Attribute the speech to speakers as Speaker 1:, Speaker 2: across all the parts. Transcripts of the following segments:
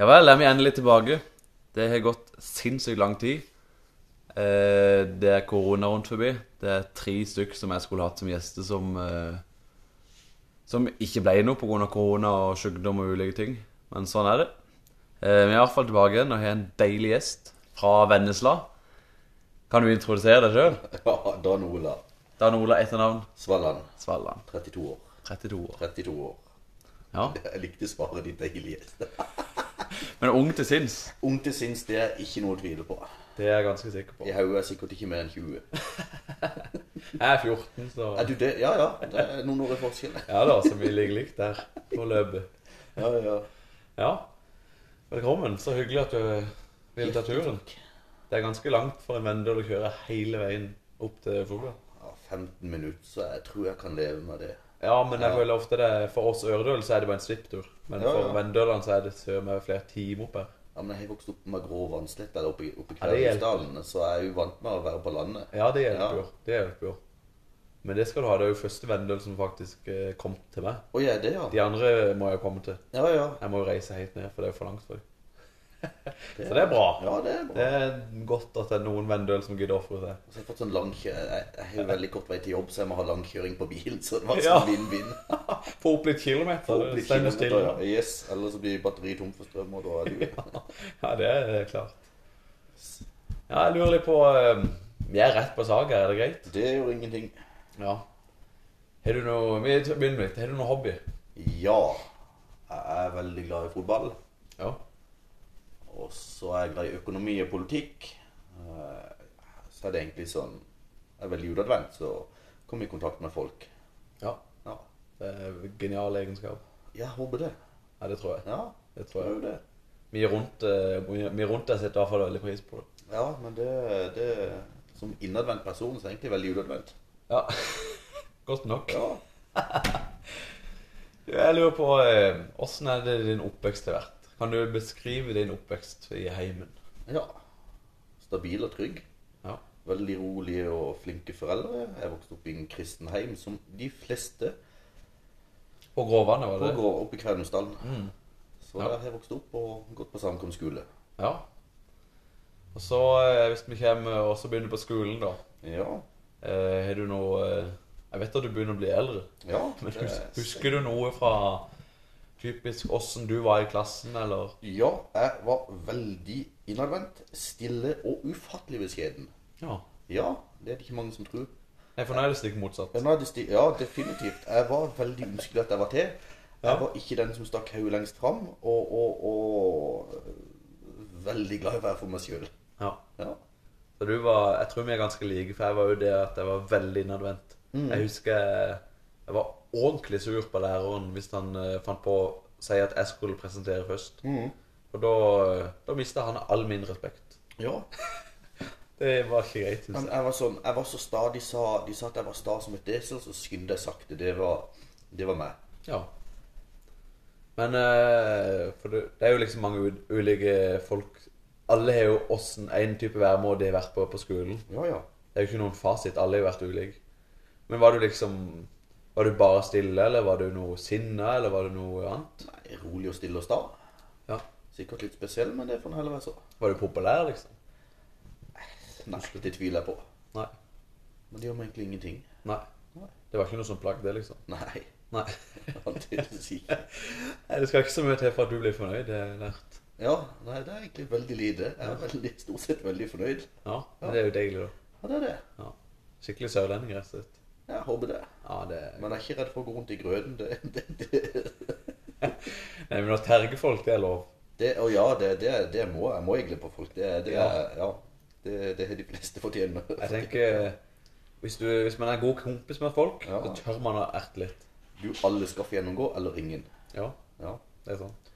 Speaker 1: Ja vel, er vi endelig tilbake. Det har gått sinnssykt lang tid. Eh, det er korona rundt forbi. Det er tre stykk som jeg skulle hatt som gjester, som eh, Som ikke ble noe pga. korona og sykdom og ulike ting. Men sånn er det. Eh, vi er iallfall tilbake igjen og har en deilig gjest fra Vennesla. Kan du introdusere deg sjøl?
Speaker 2: Ja, Dan Ola
Speaker 1: Dan Ola, etternavn?
Speaker 2: Svalland,
Speaker 1: Svalland.
Speaker 2: 32 år.
Speaker 1: 32 år.
Speaker 2: 32 år.
Speaker 1: Ja.
Speaker 2: Jeg likte svaret ditt, deilige.
Speaker 1: Men ung til sinns.
Speaker 2: Ung til sinns, det er ikke noe å tvile på.
Speaker 1: Det er jeg ganske sikker på.
Speaker 2: I hodet er jeg sikkert ikke mer enn 20.
Speaker 1: Jeg er 14, så
Speaker 2: Er du det? Ja ja, det er noen år i forskjell.
Speaker 1: Ja da, så vi ligger likt der på løpet.
Speaker 2: Ja, ja.
Speaker 1: Ja. Velkommen. Så hyggelig at du vil ta turen. Det er ganske langt for en vendel å kjøre hele veien opp til Fogla.
Speaker 2: ja 15 minutter, så jeg tror jeg kan leve med det.
Speaker 1: Ja, men jeg
Speaker 2: Ja.
Speaker 1: føler ofte det For oss øredøl så er det bare en svipptur. Men
Speaker 2: Ja, ja.
Speaker 1: for vendølene så er det søren meg flere timer opp her.
Speaker 2: Ja, men Jeg har vokst opp med grå vannslett der oppe, i- oppe i
Speaker 1: Ja, det hjelper.
Speaker 2: Kværingsdalen, så jeg er jo vant med å være på landet.
Speaker 1: Ja, det hjelper
Speaker 2: Ja.
Speaker 1: jo. Det hjelper jo. Men det skal du ha. Det er jo første vendøl som faktisk eh, kom til meg.
Speaker 2: Å, ja, det, ja.
Speaker 1: De andre må jeg jo komme til.
Speaker 2: Ja, ja.
Speaker 1: Jeg må jo reise helt ned, for det er jo for langt for dem.
Speaker 2: Det
Speaker 1: Så det er bra.
Speaker 2: Ja, det er
Speaker 1: Det
Speaker 2: bra.
Speaker 1: er godt at det er noen vendøl som gidder å ofre seg.
Speaker 2: Så jeg har fått sånn lang kjø- Jeg jeg har jo veldig kort vei til jobb, så jeg må ha lang kjøring på bilen. Så det var
Speaker 1: Ja.
Speaker 2: sånn vinn-vinn.
Speaker 1: Få opp litt kilometer.
Speaker 2: Få opp litt
Speaker 1: stemme
Speaker 2: kilometer,
Speaker 1: stille.
Speaker 2: ja. Yes, ellers så blir batteriet tomt for strøm, og da er du
Speaker 1: Ja, det er klart. Ja, jeg lurer litt på eh, Vi er rett på sak her, er det greit?
Speaker 2: Det gjør ingenting.
Speaker 1: Ja. Har du noe Vi begynner med litt. Har du noe hobby?
Speaker 2: Ja, jeg er veldig glad i fotball.
Speaker 1: Ja.
Speaker 2: Og så er jeg glad i økonomi og politikk. Eh, Så er det egentlig sånn Jeg er veldig utadvendt, så kommer jeg i kontakt med folk.
Speaker 1: ja.
Speaker 2: Ja,
Speaker 1: Det er genial egenskap.
Speaker 2: jeg håper det.
Speaker 1: Ja, det tror jeg.
Speaker 2: Ja,
Speaker 1: Det tror jeg.
Speaker 2: prøv det.
Speaker 1: Vi rundt, eh, vi rundt deg setter i hvert fall veldig pris på det.
Speaker 2: Ja, men det, det Som innadvendt person så er jeg egentlig veldig utadvendt.
Speaker 1: Ja. Godt nok.
Speaker 2: Ja.
Speaker 1: Jeg lurer på eh, åssen er det din oppvekst har vært? Kan du beskrive din oppvekst i heimen?
Speaker 2: ja. Stabil og trygg.
Speaker 1: Ja.
Speaker 2: veldig rolige og flinke foreldre. Jeg vokste opp i en kristen heim, som de fleste
Speaker 1: På Gråvannet, var det? Mm. det?
Speaker 2: pågår oppe i Kvænerusdalen. Så
Speaker 1: Ja.
Speaker 2: der har jeg vokst opp og gått på samkomstskole.
Speaker 1: Ja. Og så, eh, hvis vi kommer og så begynner på skolen, da
Speaker 2: Ja.
Speaker 1: eh, Har du noe eh, Jeg vet at du begynner å bli eldre,
Speaker 2: ja Eh,
Speaker 1: men
Speaker 2: det-
Speaker 1: hus husker du noe fra typisk åssen du var i klassen, eller
Speaker 2: Ja, jeg var veldig innadvendt, stille og ufattelig beskjeden.
Speaker 1: Ja.
Speaker 2: Ja, det er det ikke mange som tror.
Speaker 1: Nei, for nå er det stikk motsatt.
Speaker 2: Ja, nå er det sti ja definitivt. Jeg var veldig ønskelig at jeg var til.
Speaker 1: Ja.
Speaker 2: Jeg var ikke den som stakk hodet lengst fram, og, og, og veldig glad i å være for meg sjøl.
Speaker 1: Ja.
Speaker 2: Ja.
Speaker 1: Så du var Jeg tror vi er ganske like, for jeg var jo det at jeg var veldig innadvendt. Jeg husker jeg- jeg var ordentlig sur på læreren hvis han eh, fant på å si at jeg skulle presentere først. Og da, da mista han all min respekt.
Speaker 2: ja,
Speaker 1: Det var ikke greit, syns
Speaker 2: Men jeg var sånn, jeg var så sta, de sa, de sa at jeg var sta som et esel, så skyndte jeg sakte. Det var, det var meg.
Speaker 1: Ja. Men eh, for det, det er jo liksom mange u- ulike folk Alle har jo åssen en type væremåte de har vært på på skolen.
Speaker 2: Ja, ja.
Speaker 1: Det er jo ikke noen fasit. Alle har jo vært ulike. Men var du liksom Var du bare stille, eller var du noe sinna, eller var du noe annet?
Speaker 2: Nei, rolig og stille og sta.
Speaker 1: Ja.
Speaker 2: Sikkert litt spesiell, men det får en heller være så.
Speaker 1: Var du populær, liksom?
Speaker 2: Nei, det tviler jeg på.
Speaker 1: Nei.
Speaker 2: Men det gjør meg egentlig ingenting.
Speaker 1: Nei. Det var ikke noe som plagde, liksom?
Speaker 2: Nei,
Speaker 1: Nei.
Speaker 2: antakeligvis ikke.
Speaker 1: Nei, Det skal ikke så mye til for at du blir fornøyd. Det er nært.
Speaker 2: Ja, nei, det er egentlig veldig lite. Jeg er veldig, stort sett veldig fornøyd.
Speaker 1: Ja, men det er jo deilig, da.
Speaker 2: Ja, det er det.
Speaker 1: Ja. Skikkelig sørlending, rett og slett.
Speaker 2: Jeg håper det.
Speaker 1: Ja, det
Speaker 2: Men jeg er ikke redd for å gå rundt i grøten. Det, det, det,
Speaker 1: Nei, men å terge folk, det er lov.
Speaker 2: det, og ja, det, det, det må jeg. Jeg må egentlig på folk. Det, det, er- ja, det, det har de fleste fortjener.
Speaker 1: Jeg tenker hvis, du, hvis man er god kompis med folk,
Speaker 2: Ja.
Speaker 1: så tør man å erte litt.
Speaker 2: Du, alle skal få gjennomgå, eller ingen.
Speaker 1: Ja,
Speaker 2: Ja.
Speaker 1: det er sant.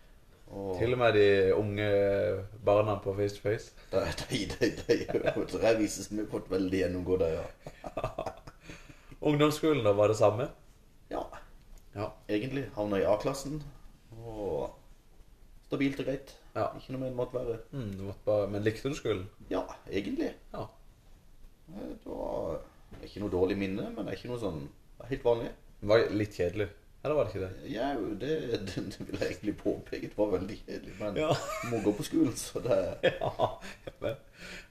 Speaker 2: Og
Speaker 1: Til og med de unge barna på Face to Face.
Speaker 2: de, de, de, de, de vises vi har fått veldig gjennomgå der, ja.
Speaker 1: Ungdomsskolen, da, var det samme?
Speaker 2: Ja,
Speaker 1: Ja.
Speaker 2: egentlig havna i A-klassen. Og stabilt og greit.
Speaker 1: Ja.
Speaker 2: Ikke noe mer enn måtte være.
Speaker 1: Mm, du måtte bare, men likte du skolen?
Speaker 2: Ja, egentlig.
Speaker 1: Ja.
Speaker 2: Eh, Det var ikke noe dårlig minne, men det er ikke noe sånn det er helt vanlig.
Speaker 1: Det var litt kjedelig. Eller var det ikke det?
Speaker 2: Ja, jo, det, det, det vil jeg egentlig påpeke. Det var veldig kjedelig, men
Speaker 1: Ja.
Speaker 2: må gå på skolen, så det
Speaker 1: Ja. men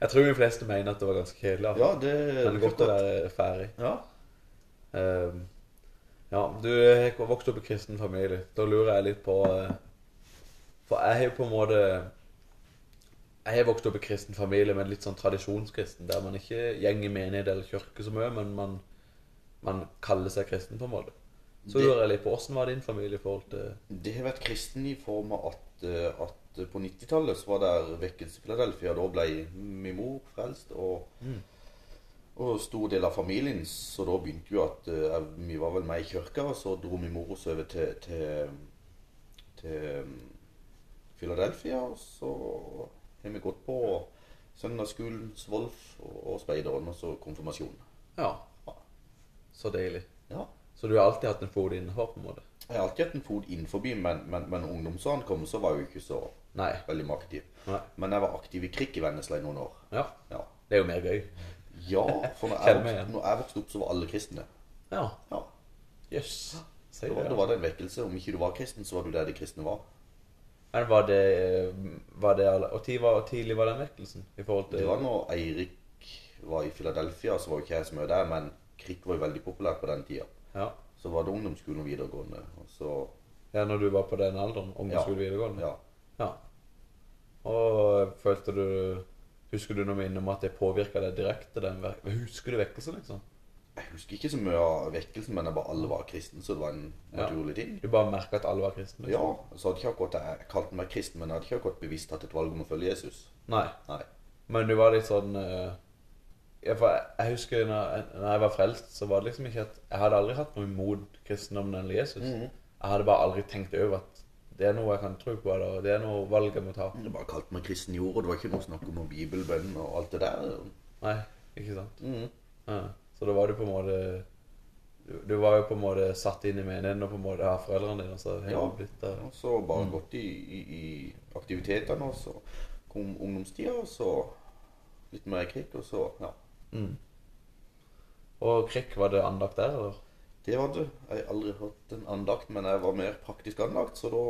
Speaker 1: Jeg tror de fleste mener at det var ganske kjedelig. da.
Speaker 2: Ja, det
Speaker 1: Men det er godt å være ferdig.
Speaker 2: Ja.
Speaker 1: Eh, ja, du har vokst opp i kristen familie. Da lurer jeg litt på eh, For jeg har jo på en måte Jeg har vokst opp i kristen familie, men litt sånn tradisjonskristen, der man ikke går i menighet eller kirke så mye, men man, man kaller seg kristen, på en måte. Så
Speaker 2: Det-
Speaker 1: lurer jeg litt på åssen var din familie i forhold til
Speaker 2: Det har vært kristen i form av at, eh, at på 90-tallet så var det Vekkelse Philadelphia. Da ble min mor frelst, og, og stor del av familien. Så da begynte jo at eh, jeg- Vi var vel med i kirka, og så dro min mor oss over til, til, til um, Philadelphia. Og så har vi gått på søndagsskolens Wolf og, og speideren, og så konfirmasjon.
Speaker 1: Ja. Så deilig.
Speaker 2: Ja.
Speaker 1: Så du har alltid hatt en fot innenfor, på en måte?
Speaker 2: Jeg har alltid hatt en fot innenfor, men, men, men ungdomsankomst så var jeg jo ikke så
Speaker 1: Nei.
Speaker 2: veldig aktiv.
Speaker 1: Nei.
Speaker 2: Men jeg var aktiv i krikk i Vennesla i noen år.
Speaker 1: Ja.
Speaker 2: Ja,
Speaker 1: Det er jo mer gøy.
Speaker 2: ja for når jeg,
Speaker 1: Kjenner meg
Speaker 2: vokste,
Speaker 1: igjen.
Speaker 2: når jeg vokste opp, så var alle kristne.
Speaker 1: Ja.
Speaker 2: Ja,
Speaker 1: Jøss.
Speaker 2: Da
Speaker 1: Sier
Speaker 2: var,
Speaker 1: du
Speaker 2: da var det en vekkelse. Om ikke du var kristen, så var du der de kristne var.
Speaker 1: Men var det, eh, var det alle- Og tid var, tidlig var den vekkelsen? I forhold til
Speaker 2: Det var når Eirik var i Philadelphia, så var jo ikke jeg så mye der, men krikk var jo veldig populært på den tida.
Speaker 1: ja.
Speaker 2: Så var det ungdomsskolen og videregående, og så
Speaker 1: ja, når du var på den alderen? Ungdomsskole, videregående?
Speaker 2: Ja.
Speaker 1: Ja. Og eh, følte du Husker du noe minne om at det påvirka deg direkte? den verk- Husker du vekkelsen, liksom?
Speaker 2: Jeg husker ikke så mye av vekkelsen, men jeg bare alle var kristne, så det var en
Speaker 1: Ja.
Speaker 2: naturlig ting.
Speaker 1: Du bare merka at alle var kristne?
Speaker 2: Ja,
Speaker 1: Liksom.
Speaker 2: så hadde ikke akkurat jeg kalt meg kristen, men jeg hadde ikke akkurat bevisst hatt et valg om å følge Jesus.
Speaker 1: Nei.
Speaker 2: Nei.
Speaker 1: Men du var litt sånn eh, ja, for jeg, jeg husker når, jeg- når jeg var frelst, så var det liksom ikke at Jeg hadde aldri hatt noe imot kristendommen eller Jesus.
Speaker 2: Mm.
Speaker 1: Jeg hadde bare aldri tenkt over at det er noe jeg kan tro på, eller det er noe valg jeg må ta.
Speaker 2: Det bare kalte meg kristen i ord, og det var ikke noe snakk om noe bibelbønn og alt det der.
Speaker 1: Nei, ikke sant.
Speaker 2: Mm.
Speaker 1: Ja. Så da var du på en måte du, du var jo på en måte satt inn i menigheten og på en måte av foreldrene dine. Så har
Speaker 2: Ja.
Speaker 1: du blitt der.
Speaker 2: Og så bare gått i, i, i aktivitetene, og så kom ungdomstida, og så litt mer krig, og så Ja.
Speaker 1: Og Krekk, var det andakt der, eller?
Speaker 2: Det var det. Jeg har aldri hatt en andakt, men jeg var mer praktisk anlagt, så da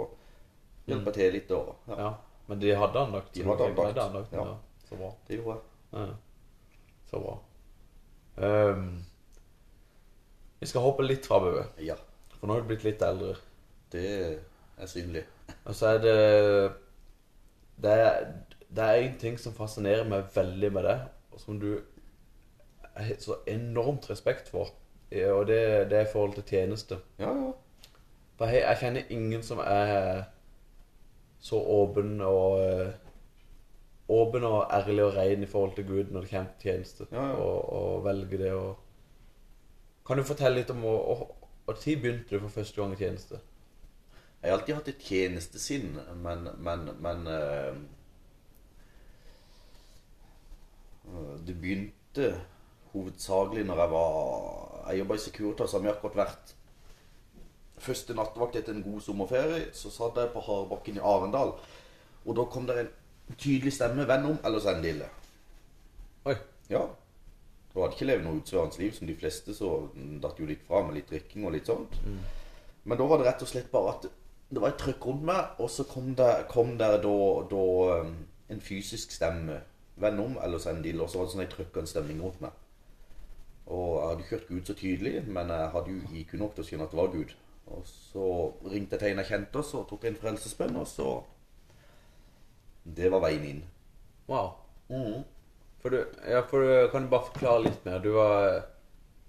Speaker 2: hjalp jeg til litt, og ja,
Speaker 1: Ja. Men de hadde andakt? så
Speaker 2: De
Speaker 1: du
Speaker 2: hadde
Speaker 1: fikk med
Speaker 2: andakt,
Speaker 1: deg andakten,
Speaker 2: ja.
Speaker 1: ja. Så bra.
Speaker 2: det gjorde jeg.
Speaker 1: Ja. Så bra. Ehm, vi skal hoppe litt fra Bø,
Speaker 2: Ja.
Speaker 1: for nå har du blitt litt eldre.
Speaker 2: Det er synlig.
Speaker 1: Og så er det Det er, det er en ting som fascinerer meg veldig med det, og som du jeg har så enormt respekt for, eh, og det, det er i forhold til tjeneste.
Speaker 2: Ja, ja.
Speaker 1: For jeg, jeg kjenner ingen som er så åpen og eh, Åpen og ærlig og ren i forhold til Gud når det kommer til tjeneste,
Speaker 2: Ja, ja.
Speaker 1: Og, og velge det og Kan du fortelle litt om Når begynte du for første gang i tjeneste?
Speaker 2: Jeg har alltid hatt et tjenestesinn, men, men, men eh, eh, Det begynte hovedsakelig når jeg var Jeg jobba i Securitas, har vi akkurat vært første nattevakt etter en god sommerferie. Så satt jeg på Harebakken i Arendal, og da kom det en tydelig stemme. Venn om eller send ille.
Speaker 1: Oi.
Speaker 2: Ja. Du hadde ikke levd noe utsvørende liv som de fleste, så datt jo litt fra med litt drikking og litt sånt.
Speaker 1: Mm.
Speaker 2: Men da var det rett og slett bare at det var et trøkk rundt meg, og så kom det, kom der da, da um, en fysisk stemme. Venn om, eller send deal. Og så var det sånn ei trøkkende stemning rundt meg. Og jeg hadde ikke hørt Gud så tydelig, men jeg hadde jo IQ nok til å skjønne at det var Gud. Og så ringte jeg til en jeg kjente, og så tok jeg en frelsesbønn, og så Det var veien inn.
Speaker 1: Wow. Mm. For du, ja, for du kan du bare forklare litt mer. Du var,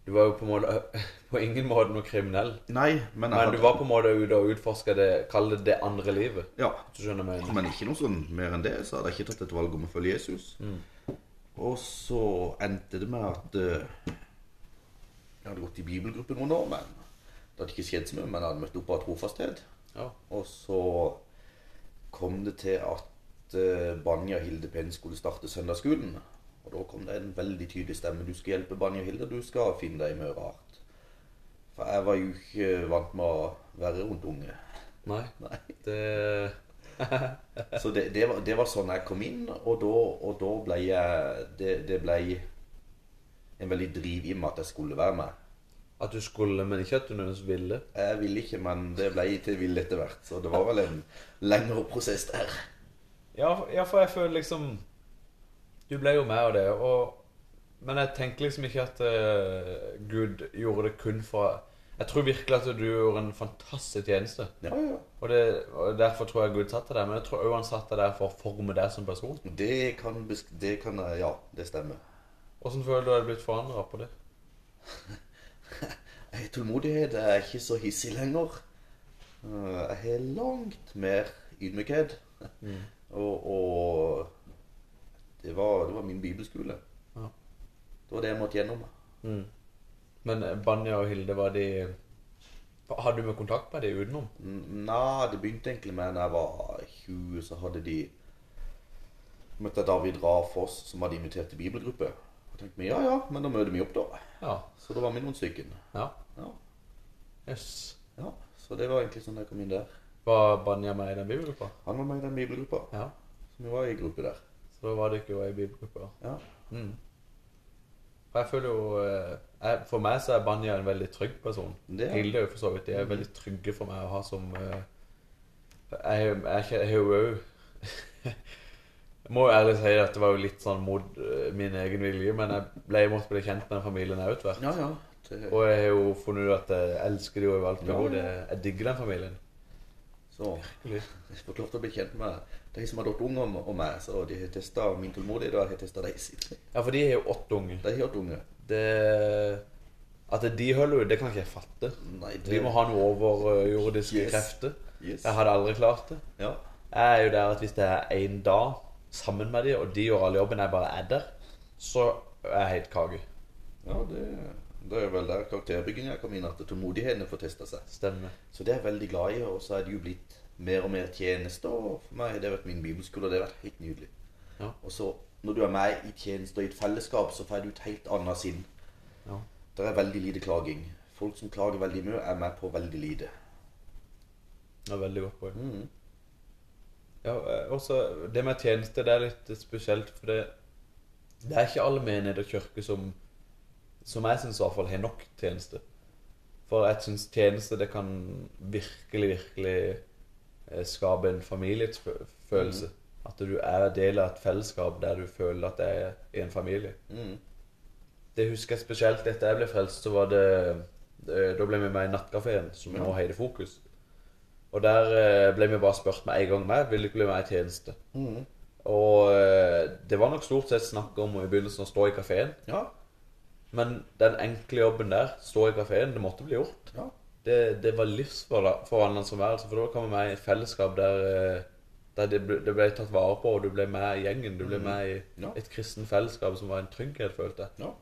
Speaker 1: du var jo på, en måte, på ingen måte noe kriminell.
Speaker 2: Nei, men jeg
Speaker 1: Men du
Speaker 2: hadde
Speaker 1: var på en måte ute og utforska det Kall det det andre livet.
Speaker 2: Ja,
Speaker 1: Hvis du skjønner hva jeg mener.
Speaker 2: Men ikke noe sånn mer enn det, så hadde jeg ikke tatt et valg om å følge Jesus. Og så endte det med at eh, Jeg hadde gått i bibelgruppen noen år, men det hadde ikke skjedd så mye. Men jeg hadde møtt opp av trofasthet.
Speaker 1: Ja.
Speaker 2: Og så kom det til at eh, Banja og Hilde Penn skulle starte søndagsskolen. Og da kom det en veldig tydelig stemme. Du skal hjelpe Banja og Hilde, du skal finne deg mye rart. For jeg var jo ikke vant med å være rundt unge.
Speaker 1: Nei.
Speaker 2: Nei.
Speaker 1: Det
Speaker 2: Så det, det, var, det var sånn jeg kom inn, og da, og da ble jeg det, det ble en veldig driv i meg at jeg skulle være med.
Speaker 1: At du skulle, men ikke at du nødvendigvis ville.
Speaker 2: Jeg ville ikke, men det ble til vill etter hvert. Så det var vel en lengre prosess der.
Speaker 1: Ja, ja, for jeg føler liksom Du ble jo med av det, og Men jeg tenker liksom ikke at eh, Gud gjorde det kun for Jeg tror virkelig at du gjorde en fantastisk tjeneste.
Speaker 2: Ja, ja.
Speaker 1: Og, det, og derfor tror jeg Gud satte deg der. Men jeg tror også han satte deg der for å forme deg som person.
Speaker 2: Det kan, besk det kan jeg- Ja, det stemmer.
Speaker 1: Hvordan føler du deg blitt forandra på det?
Speaker 2: Jeg har tålmodighet. Jeg er ikke så hissig lenger. Eh, Jeg har langt mer ydmykhet. Mm. Og, og det, var, det var min bibelskole.
Speaker 1: Ja.
Speaker 2: Det var det jeg måtte gjennom.
Speaker 1: Men eh, Banja og Hilde, var de Hadde du med kontakt med dem utenom?
Speaker 2: N- Nei, det begynte egentlig med da jeg var 20, så hadde de møtte jeg David Rafoss, som hadde invitert til bibelgruppe. Og tenkte vi, ja ja, men da møter vi opp, da.
Speaker 1: Ja.
Speaker 2: Så da var vi noen stykken.
Speaker 1: ja.
Speaker 2: Ja,
Speaker 1: Yes.
Speaker 2: ja. Så det var egentlig sånn jeg kom inn der.
Speaker 1: Var Banja med i den bibelgruppa?
Speaker 2: Han var med i den bibelgruppa,
Speaker 1: Ja.
Speaker 2: så vi var i gruppe der.
Speaker 1: Så da var dere jo i bibelgruppa.
Speaker 2: Ja,
Speaker 1: Mm. Og jeg føler jo eh, jeg, For meg så er Banja en veldig trygg person.
Speaker 2: Det er-
Speaker 1: Hilde er jo for så vidt. De er veldig trygge for meg å ha som eh, Jeg jeg er ikke- jeg har jo òg Jeg må jo ærlig si at det var jo litt sånn mot eh, min egen vilje, men jeg ble måtte bli kjent med den familien jeg utvært.
Speaker 2: ja. ja. Det,
Speaker 1: Og jeg har jo funnet ut at jeg elsker de og har valgt
Speaker 2: Ja,
Speaker 1: dem.
Speaker 2: ja.
Speaker 1: Jeg digger den familien.
Speaker 2: så jeg fikk lov til å bli kjent med de som hadde hatt unger med- og meg, så de har testa min tålmodighet, og jeg har testa deres.
Speaker 1: Ja, for de er jo åtte unge.
Speaker 2: De har hatt unger.
Speaker 1: Det At de holder ut, det kan ikke jeg fatte.
Speaker 2: Nei,
Speaker 1: Vi må ha noe overjordiske
Speaker 2: Yes.
Speaker 1: krefter.
Speaker 2: Yes.
Speaker 1: Jeg hadde aldri klart det.
Speaker 2: Ja.
Speaker 1: Jeg er jo der at hvis det er en dag sammen med de, og de gjør all jobben, jeg bare er der, så er jeg helt kake.
Speaker 2: Ja, det, det er vel der karakterbygginga kom inn, at tålmodigheten får testa seg.
Speaker 1: Stemmer.
Speaker 2: Så det er jeg veldig glad i, og så er det jo blitt mer og mer tjeneste, og for meg har det vært min bibelskole, og det har vært helt nydelig.
Speaker 1: Ja.
Speaker 2: Og så, når du er med i tjeneste og i et fellesskap, så får du et helt annet sinn.
Speaker 1: Ja.
Speaker 2: Det er veldig lite klaging. Folk som klager veldig mye, er med på veldig lite.
Speaker 1: Det er veldig godt poeng.
Speaker 2: Mm.
Speaker 1: Ja, eh, også det med tjeneste, det er litt spesielt, for det, det er ikke alle menigheter og kirker som, som jeg syns i hvert fall har nok tjeneste. For jeg syns tjeneste, det kan virkelig, virkelig eh, skape en familiefølelse. At du er del av et fellesskap der du føler at det er i en familie.
Speaker 2: Mm.
Speaker 1: Det husker jeg spesielt etter jeg ble frelst, så var det eh, Da ble vi med i Nattkafeen, som nå heter Fokus. Og der eh, ble vi bare spurt med en gang med vil du ikke bli med i tjeneste.
Speaker 2: Mm.
Speaker 1: Og eh, det var nok stort sett snakk om i begynnelsen å stå i kafeen,
Speaker 2: Ja.
Speaker 1: men den enkle jobben der, stå i kafeen, det måtte bli gjort.
Speaker 2: ja.
Speaker 1: Det, det var livsforvandlende som værelse, for da kom vi med i et fellesskap der, eh, der det, ble, det ble tatt vare på, og du ble med i gjengen. Du ble med i
Speaker 2: Mm. Ja.
Speaker 1: et kristen fellesskap som var en trygghet, følte jeg.
Speaker 2: ja.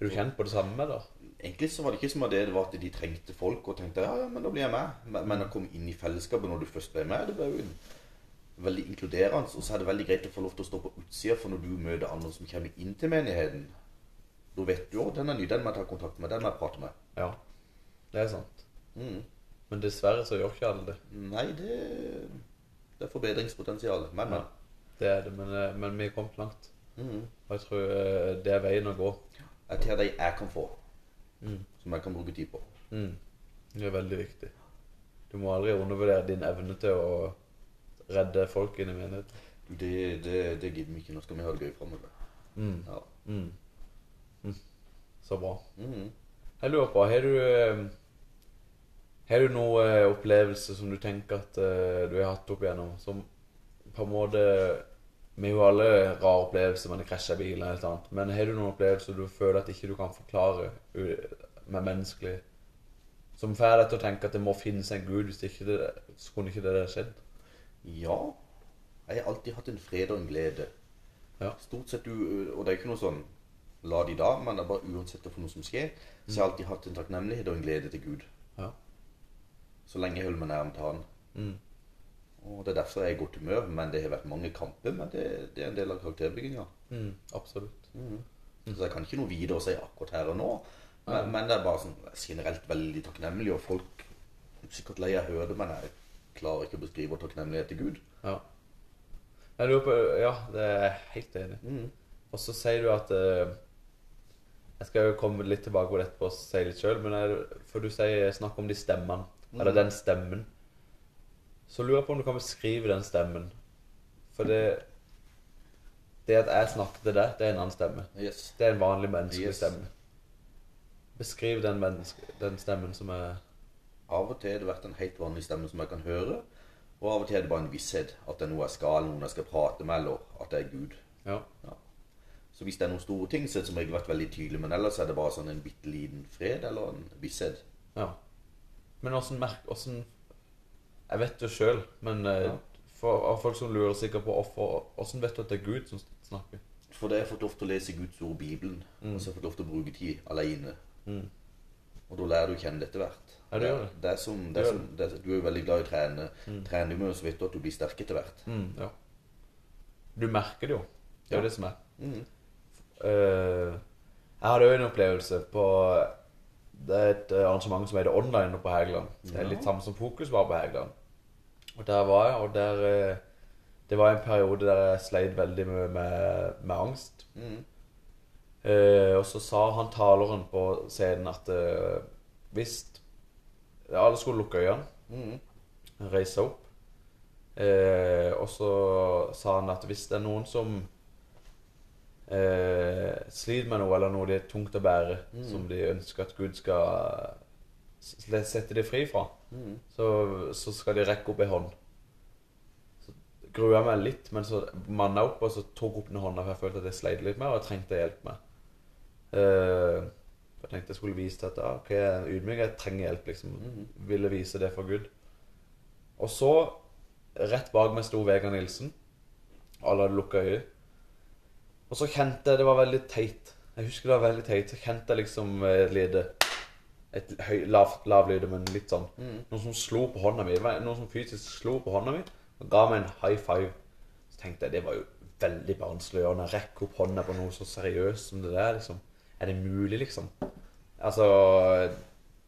Speaker 1: Er du kjent på det samme, eller?
Speaker 2: Egentlig så var det ikke som at det det var at de trengte folk, og tenkte ja, ja, men da blir jeg med. Men, men å komme inn i fellesskapet når du først ble med, det ble jo en- veldig inkluderende. Og så er det veldig greit å få lov til å stå på utsida, for når du møter andre som kommer inn til menigheten, da vet du òg den er ny, den må jeg ta kontakt med, den må jeg prate med.
Speaker 1: Ja, det er sant.
Speaker 2: Mm.
Speaker 1: Men dessverre så gjør ikke alle det.
Speaker 2: Nei, det, det er forbedringspotensial. Men, men.
Speaker 1: Det er det, men, eh, men vi er kommet langt.
Speaker 2: Mm.
Speaker 1: Og jeg tror eh, det er veien å gå.
Speaker 2: Jeg tar de jeg kan få,
Speaker 1: Mm.
Speaker 2: som jeg kan bruke tid på.
Speaker 1: Mm. Det er veldig viktig. Du må aldri undervurdere din evne til å redde folk inn i menigheten.
Speaker 2: Du, Det, det, det gidder vi ikke. Nå skal vi ha det gøy framover.
Speaker 1: Mm.
Speaker 2: Ja.
Speaker 1: Mm. Mm. Så bra.
Speaker 2: Mm.
Speaker 1: Jeg lurer på, har du eh, Har du noen eh, opplevelse som du tenker at eh, du har hatt opp igjennom, som på en måte Vi har jo alle rare opplevelser, man krasjer bilen eller noe annet. Men har du noen opplevelser du føler at ikke du kan forklare u- med menneskelig Som får deg til å tenke at det må finnes en gud, hvis ikke det, så kunne ikke det der skjedd?
Speaker 2: Ja. Jeg har alltid hatt en fred og en glede.
Speaker 1: Ja.
Speaker 2: Stort sett u... Og det er ikke noe sånn la de da, men det er bare uansett for noe som skjer, så jeg
Speaker 1: Mm.
Speaker 2: har alltid hatt en takknemlighet og en glede til Gud.
Speaker 1: Ja.
Speaker 2: Så lenge jeg holder meg nærmt Han.
Speaker 1: Mm.
Speaker 2: Og det er derfor jeg er i godt humør, men det har vært mange kamper. Men det, det er en del av karakterbygginga.
Speaker 1: Mm, absolutt. Mm.
Speaker 2: Så jeg kan ikke noe videre å si akkurat her og nå. Men, men det er bare sånn generelt veldig takknemlig, og folk er sikkert lei av å høre det, men jeg klarer ikke å beskrive takknemlighet til Gud.
Speaker 1: Ja. Jeg lurer på Ja, det er jeg helt enig. i. Og så sier du at eh, Jeg skal jo komme litt tilbake på det etterpå og si litt sjøl, men jeg, for du sier snakk om de stemmene. Eller den stemmen. Så lurer jeg på om du kan beskrive den stemmen. For det Det at jeg snakker til deg, det er en annen stemme.
Speaker 2: Yes.
Speaker 1: Det er en vanlig menneskelig
Speaker 2: Yes.
Speaker 1: stemme. Beskriv den, menneske, den stemmen som er
Speaker 2: Av og til har det vært en helt vanlig stemme som jeg kan høre. Og av og til er det bare en visshet. At det er noe jeg skal, eller noen jeg skal prate med, eller at det er Gud.
Speaker 1: Ja.
Speaker 2: Så hvis det er noen store ting, så har det som regel vært veldig tydelig. Men ellers er det bare sånn en bitte liten fred, eller en visshet.
Speaker 1: ja. Men åssen merk... Åssen Jeg vet det sjøl, men eh,
Speaker 2: Ja.
Speaker 1: for, av folk som lurer sikkert på hvorfor Åssen vet du at det er Gud som snakker?
Speaker 2: For det har jeg fått lov til å lese Guds ord, Bibelen.
Speaker 1: Mm.
Speaker 2: Og så har jeg fått lov til å bruke tid alene. Og da lærer du å kjenne det etter hvert.
Speaker 1: Ja, det gjør det.
Speaker 2: er som, det er
Speaker 1: Det Mm. gjør
Speaker 2: som, det er, du er jo veldig glad i å trene. Trener du mye, så vet du at du blir sterk etter hvert.
Speaker 1: Mm, ja. Du merker det jo. Det er jo
Speaker 2: Ja.
Speaker 1: det som er.
Speaker 2: Mm.
Speaker 1: Eh, jeg hadde jo en opplevelse på Det er et eh, arrangement som heter Online oppe på Hægeland. Det er litt samme som Fokus var på Hægeland. Og der var jeg, og der eh, Det var en periode der jeg sleit veldig med, med, med angst.
Speaker 2: Mm.
Speaker 1: Eh, og så sa han taleren på scenen at eh, hvis Alle skulle lukke øynene
Speaker 2: Mm.
Speaker 1: reise seg opp. Eh, og så sa han at hvis det er noen som eh, sliter med noe, eller noe det er tungt å bære, som de ønsker at Gud skal s- sette dem fri fra,
Speaker 2: Mm.
Speaker 1: så, så skal de rekke opp ei hånd. Så grua jeg meg litt, men så manna jeg opp og så tok opp den hånda, for jeg følte at jeg sleit litt med og jeg trengte hjelp med. Eh, jeg tenkte jeg skulle vise til at ja, ok, jeg er ydmyk, jeg trenger hjelp, liksom. Ville vise det for Gud. Og så, rett bak meg sto Vegard Nilsen. Alle hadde lukka øye. Og så kjente jeg det var veldig teit. Jeg husker det var veldig teit. Så kjente jeg liksom eh, et lite Et høy, lavt, lav lyd, men litt sånn. Noen som slo på hånda mi. Det var Noen som fysisk slo på hånda mi og ga meg en high five. Så tenkte jeg det var jo veldig barnslig å gjøre. Når jeg rekker opp hånda på noe så seriøst som det der, liksom. Er det mulig, liksom? Altså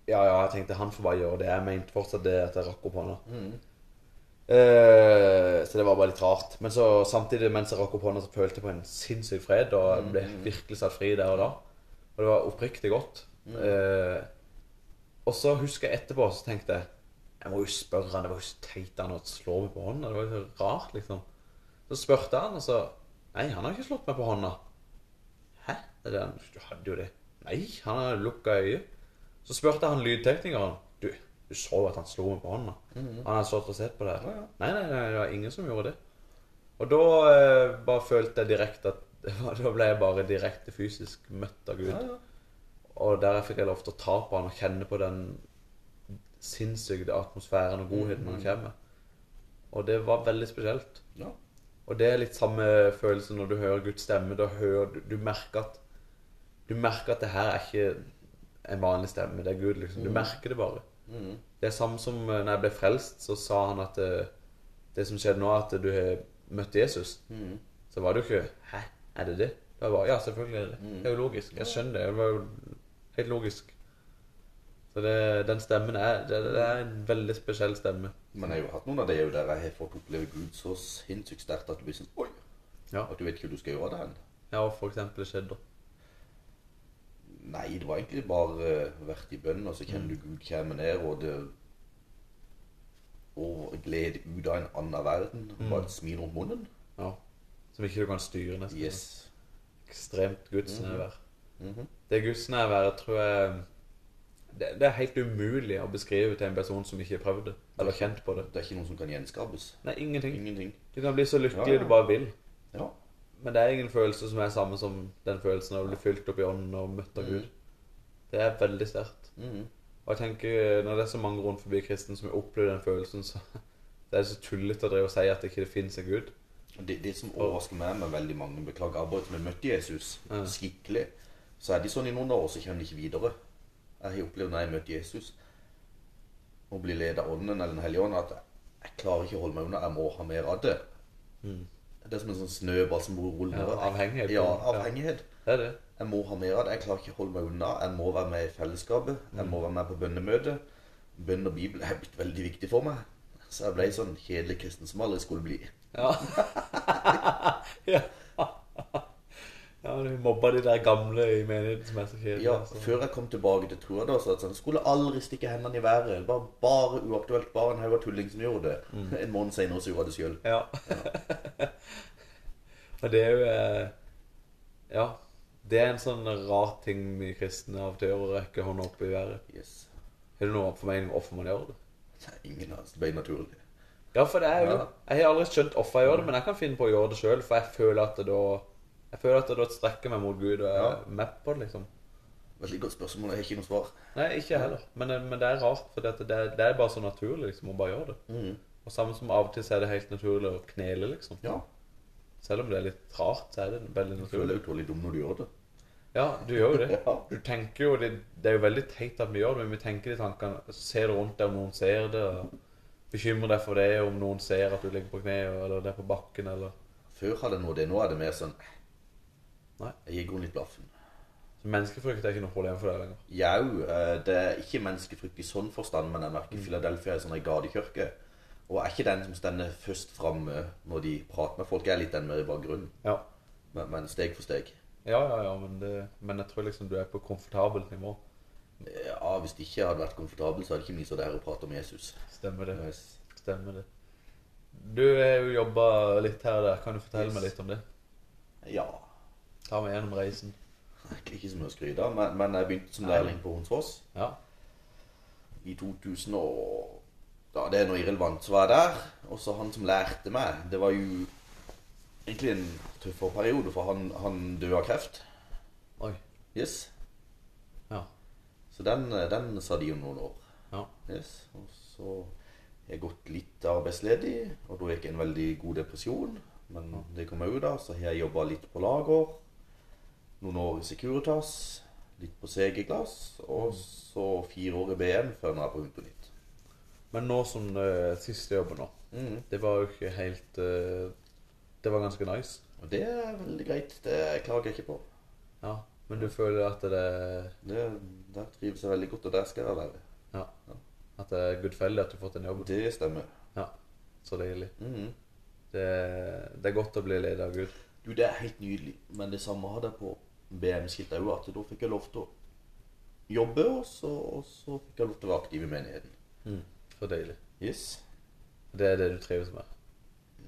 Speaker 1: Ja, ja, jeg tenkte han får bare gjøre det. Jeg mente fortsatt det at jeg rakk opp hånda. Eh, så det var bare litt rart. Men så samtidig mens jeg rakk opp hånda, så følte jeg på en sinnssyk fred. Og jeg ble virkelig satt fri der og da. Og det var oppriktig godt. Eh, og så husker jeg etterpå, så tenkte jeg Jeg må jo spørre han, det var jo så teit han å slå meg på hånda. Det var jo så rart, liksom. Så spurte han, og så Nei, han har ikke slått meg på hånda. Hæ? Det er det han, du hadde jo det. Nei, han har lukka øyet. Så spurte han lydteknikeren. Du, du så jo at han slo meg på hånda. Han hadde stått og sett på det. her. Nei, nei, nei, det var ingen som gjorde det. Og da eh, bare følte jeg direkte at Da ble jeg bare direkte fysisk møtt av Gud. Og der fikk jeg lov til å ta på han og kjenne på den sinnssyke atmosfæren og godheten han kommer med. Og det var veldig spesielt.
Speaker 2: Ja.
Speaker 1: Og det er litt samme følelse når du hører Guds stemme. Da hører du, du merker at Du merker at det her er ikke en vanlig stemme. Det er Gud, liksom. Du merker det bare.
Speaker 2: Mm,
Speaker 1: Det er samme som eh, når jeg ble frelst, så sa han at eh, det som skjedde nå, er at du har møtt Jesus.
Speaker 2: mm.
Speaker 1: Så var det jo ikke Hæ, er det det? Det var bare, Ja, selvfølgelig er det
Speaker 2: Mm.
Speaker 1: det. Det er jo logisk. Jeg skjønner det. Det var jo helt logisk. Så det, den stemmen er det, det er en veldig spesiell stemme.
Speaker 2: Men jeg har jo hatt noen av det jo der jeg har fått oppleve Gud så sinnssykt sterkt at du blir sånn Oi!
Speaker 1: Ja.
Speaker 2: At du vet ikke hvor du skal gjøre av det hen.
Speaker 1: Ja, og for eksempel det skjedde.
Speaker 2: Nei, det var egentlig bare eh, vært i bønn, og så kjenner du Gud komme ned, og det Og glede ut av en annen verden. Bare et smil rundt munnen.
Speaker 1: Ja. Som ikke du kan styre, nesten.
Speaker 2: Yes. Mm. Mhm.
Speaker 1: ekstremt gudsnærvær. Det gudsnærværet tror jeg det, det er helt umulig å beskrive til en person som ikke har prøvd det, eller kjent på det.
Speaker 2: Det er ikke noe som kan gjenskapes.
Speaker 1: Nei, ingenting.
Speaker 2: Ingenting.
Speaker 1: Du kan bli så lykkelig
Speaker 2: Ja, ja.
Speaker 1: du bare vil.
Speaker 2: Ja.
Speaker 1: Men det er ingen følelse som er samme som den følelsen av å bli fylt opp i ånden og møtt av Gud. Det er veldig sterkt.
Speaker 2: Mhm.
Speaker 1: Og jeg tenker, når det er så mange rundt forbi kristen som har opplevd den følelsen, så det er så tullete å drive og si at det ikke finnes en Gud.
Speaker 2: Det, det som overrasker meg med veldig mange beklager arbeid som har møtt Jesus skikkelig, så er de sånn i noen år, så kommer de ikke videre. Jeg har opplevd når jeg møtte Jesus og blir ledet av Ånden eller Den hellige ånd, at jeg klarer ikke å holde meg unna. Jeg må ha mer av det. Det er som en sånn snøball som ruller.
Speaker 1: Mm. Ja, avhengighet.
Speaker 2: Ja, avhengighet.
Speaker 1: Det er det.
Speaker 2: Jeg må ha mer av det. Jeg klarer ikke å holde meg unna. Jeg må være med i fellesskapet. Jeg
Speaker 1: Mm.
Speaker 2: må være med på bønnemøte. Bønn og Bibel er blitt veldig viktig for meg. Så jeg ble sånn kjedelig kristen som aldri skulle bli.
Speaker 1: Ja. ja. Ja, du mobba de der gamle i menigheten som er så kjedelige.
Speaker 2: Ja,
Speaker 1: altså.
Speaker 2: før jeg kom tilbake til Troa, da, så at sånn, skulle aldri stikke hendene i været. Det var bare uaktuelt. Bare en haug av tulling som gjorde det.
Speaker 1: Mm.
Speaker 2: En måned senere så gjorde jeg det sjøl.
Speaker 1: Ja. Og det er jo eh, Ja. Det er en sånn rar ting vi kristne av og til gjør, å rekke hånda opp i været.
Speaker 2: Yes.
Speaker 1: Har du noen formening om hvorfor man gjør det?
Speaker 2: Nei, ingen av oss. Det ble naturlig.
Speaker 1: Ja, for det er jo
Speaker 2: Ja.
Speaker 1: Jeg har aldri skjønt hvorfor jeg gjør det, men jeg kan finne på å gjøre det sjøl, for jeg føler at det da Jeg føler at det da strekker meg mot Gud og jeg
Speaker 2: Ja.
Speaker 1: er med på det, liksom.
Speaker 2: Veldig godt spørsmål. Jeg har ikke noe svar.
Speaker 1: Nei, ikke jeg heller. Men, eh, men det er rart, for det, det, det er bare så naturlig liksom, å bare gjøre det. Og samme som av og til så er det helt naturlig å knele, liksom.
Speaker 2: Ja.
Speaker 1: Selv om det er litt rart, så er det veldig
Speaker 2: Du
Speaker 1: naturlig.
Speaker 2: føler deg utrolig dum når du gjør det.
Speaker 1: Ja, du gjør jo det.
Speaker 2: Ja.
Speaker 1: Du tenker jo, det, det er jo veldig teit at vi gjør det, men vi tenker de tankene. Ser du rundt deg om noen ser det? Og bekymrer deg for det om noen ser at du ligger på kne, eller det er på bakken, eller
Speaker 2: Før hadde jeg noe av det. Nå er det mer sånn
Speaker 1: Nei.
Speaker 2: Jeg gir grunnen litt blaffen.
Speaker 1: Så menneskefrykt er ikke noe problem for deg lenger.
Speaker 2: Jau, eh, det er ikke menneskefrykt i sånn forstand, men jeg
Speaker 1: Mm.
Speaker 2: merker Philadelphia er sånn en gadekirke. Og jeg er ikke den som stender først framme når de prater med folk. Jeg er litt den mer i bakgrunnen,
Speaker 1: Ja,
Speaker 2: men, men steg for steg.
Speaker 1: ja, ja, ja men, det, men jeg tror liksom du er på komfortabelt nivå.
Speaker 2: Ja, Hvis det ikke hadde vært komfortabel, så hadde ikke vi så der og pratet om Jesus.
Speaker 1: Stemmer det.
Speaker 2: Yes.
Speaker 1: Stemmer det. Du har jo jobba litt her og der. Kan du fortelle
Speaker 2: Yes.
Speaker 1: meg litt om det?
Speaker 2: Ja.
Speaker 1: Ta meg gjennom reisen.
Speaker 2: Egentlig ikke så mye å skryte av, men, men jeg begynte som lærling på Honsfoss
Speaker 1: Ja.
Speaker 2: i 2000 og Ja, det er noe irrelevant, så var jeg der. Og så han som lærte meg Det var jo egentlig en tøffere periode, for han, han døde av kreft.
Speaker 1: Oi.
Speaker 2: Yes.
Speaker 1: Ja.
Speaker 2: Så den, den sa de om noen år.
Speaker 1: Ja.
Speaker 2: Yes. Og så har jeg gått litt arbeidsledig, og da gikk jeg en veldig god depresjon. Men det kom jeg ut av. Så har jeg jobba litt på lager, noen år i Securitas, litt på CG-glass, og så fire år i BM før nå er jeg på Hunternytt.
Speaker 1: Men nå som eh, siste jobben nå,
Speaker 2: Mm.
Speaker 1: det var jo ikke helt eh, Det var ganske nice.
Speaker 2: Og det er veldig greit. Det klager jeg ikke på.
Speaker 1: Ja. Men du føler at det
Speaker 2: Det, der trives jeg veldig godt, og der skal jeg være.
Speaker 1: Ja. At det er gudfeldig at du har fått en jobb.
Speaker 2: Det stemmer.
Speaker 1: Ja. Så deilig.
Speaker 2: Mhm.
Speaker 1: Det, det er godt å bli ledet av Gud.
Speaker 2: Du, det er helt nydelig. Men det samme hadde jeg på BM-skiltet òg, at da fikk jeg lov til å jobbe, og så, og så fikk jeg lov til å være aktiv i menigheten.
Speaker 1: Så deilig.
Speaker 2: Yes.
Speaker 1: Det er det du trives med.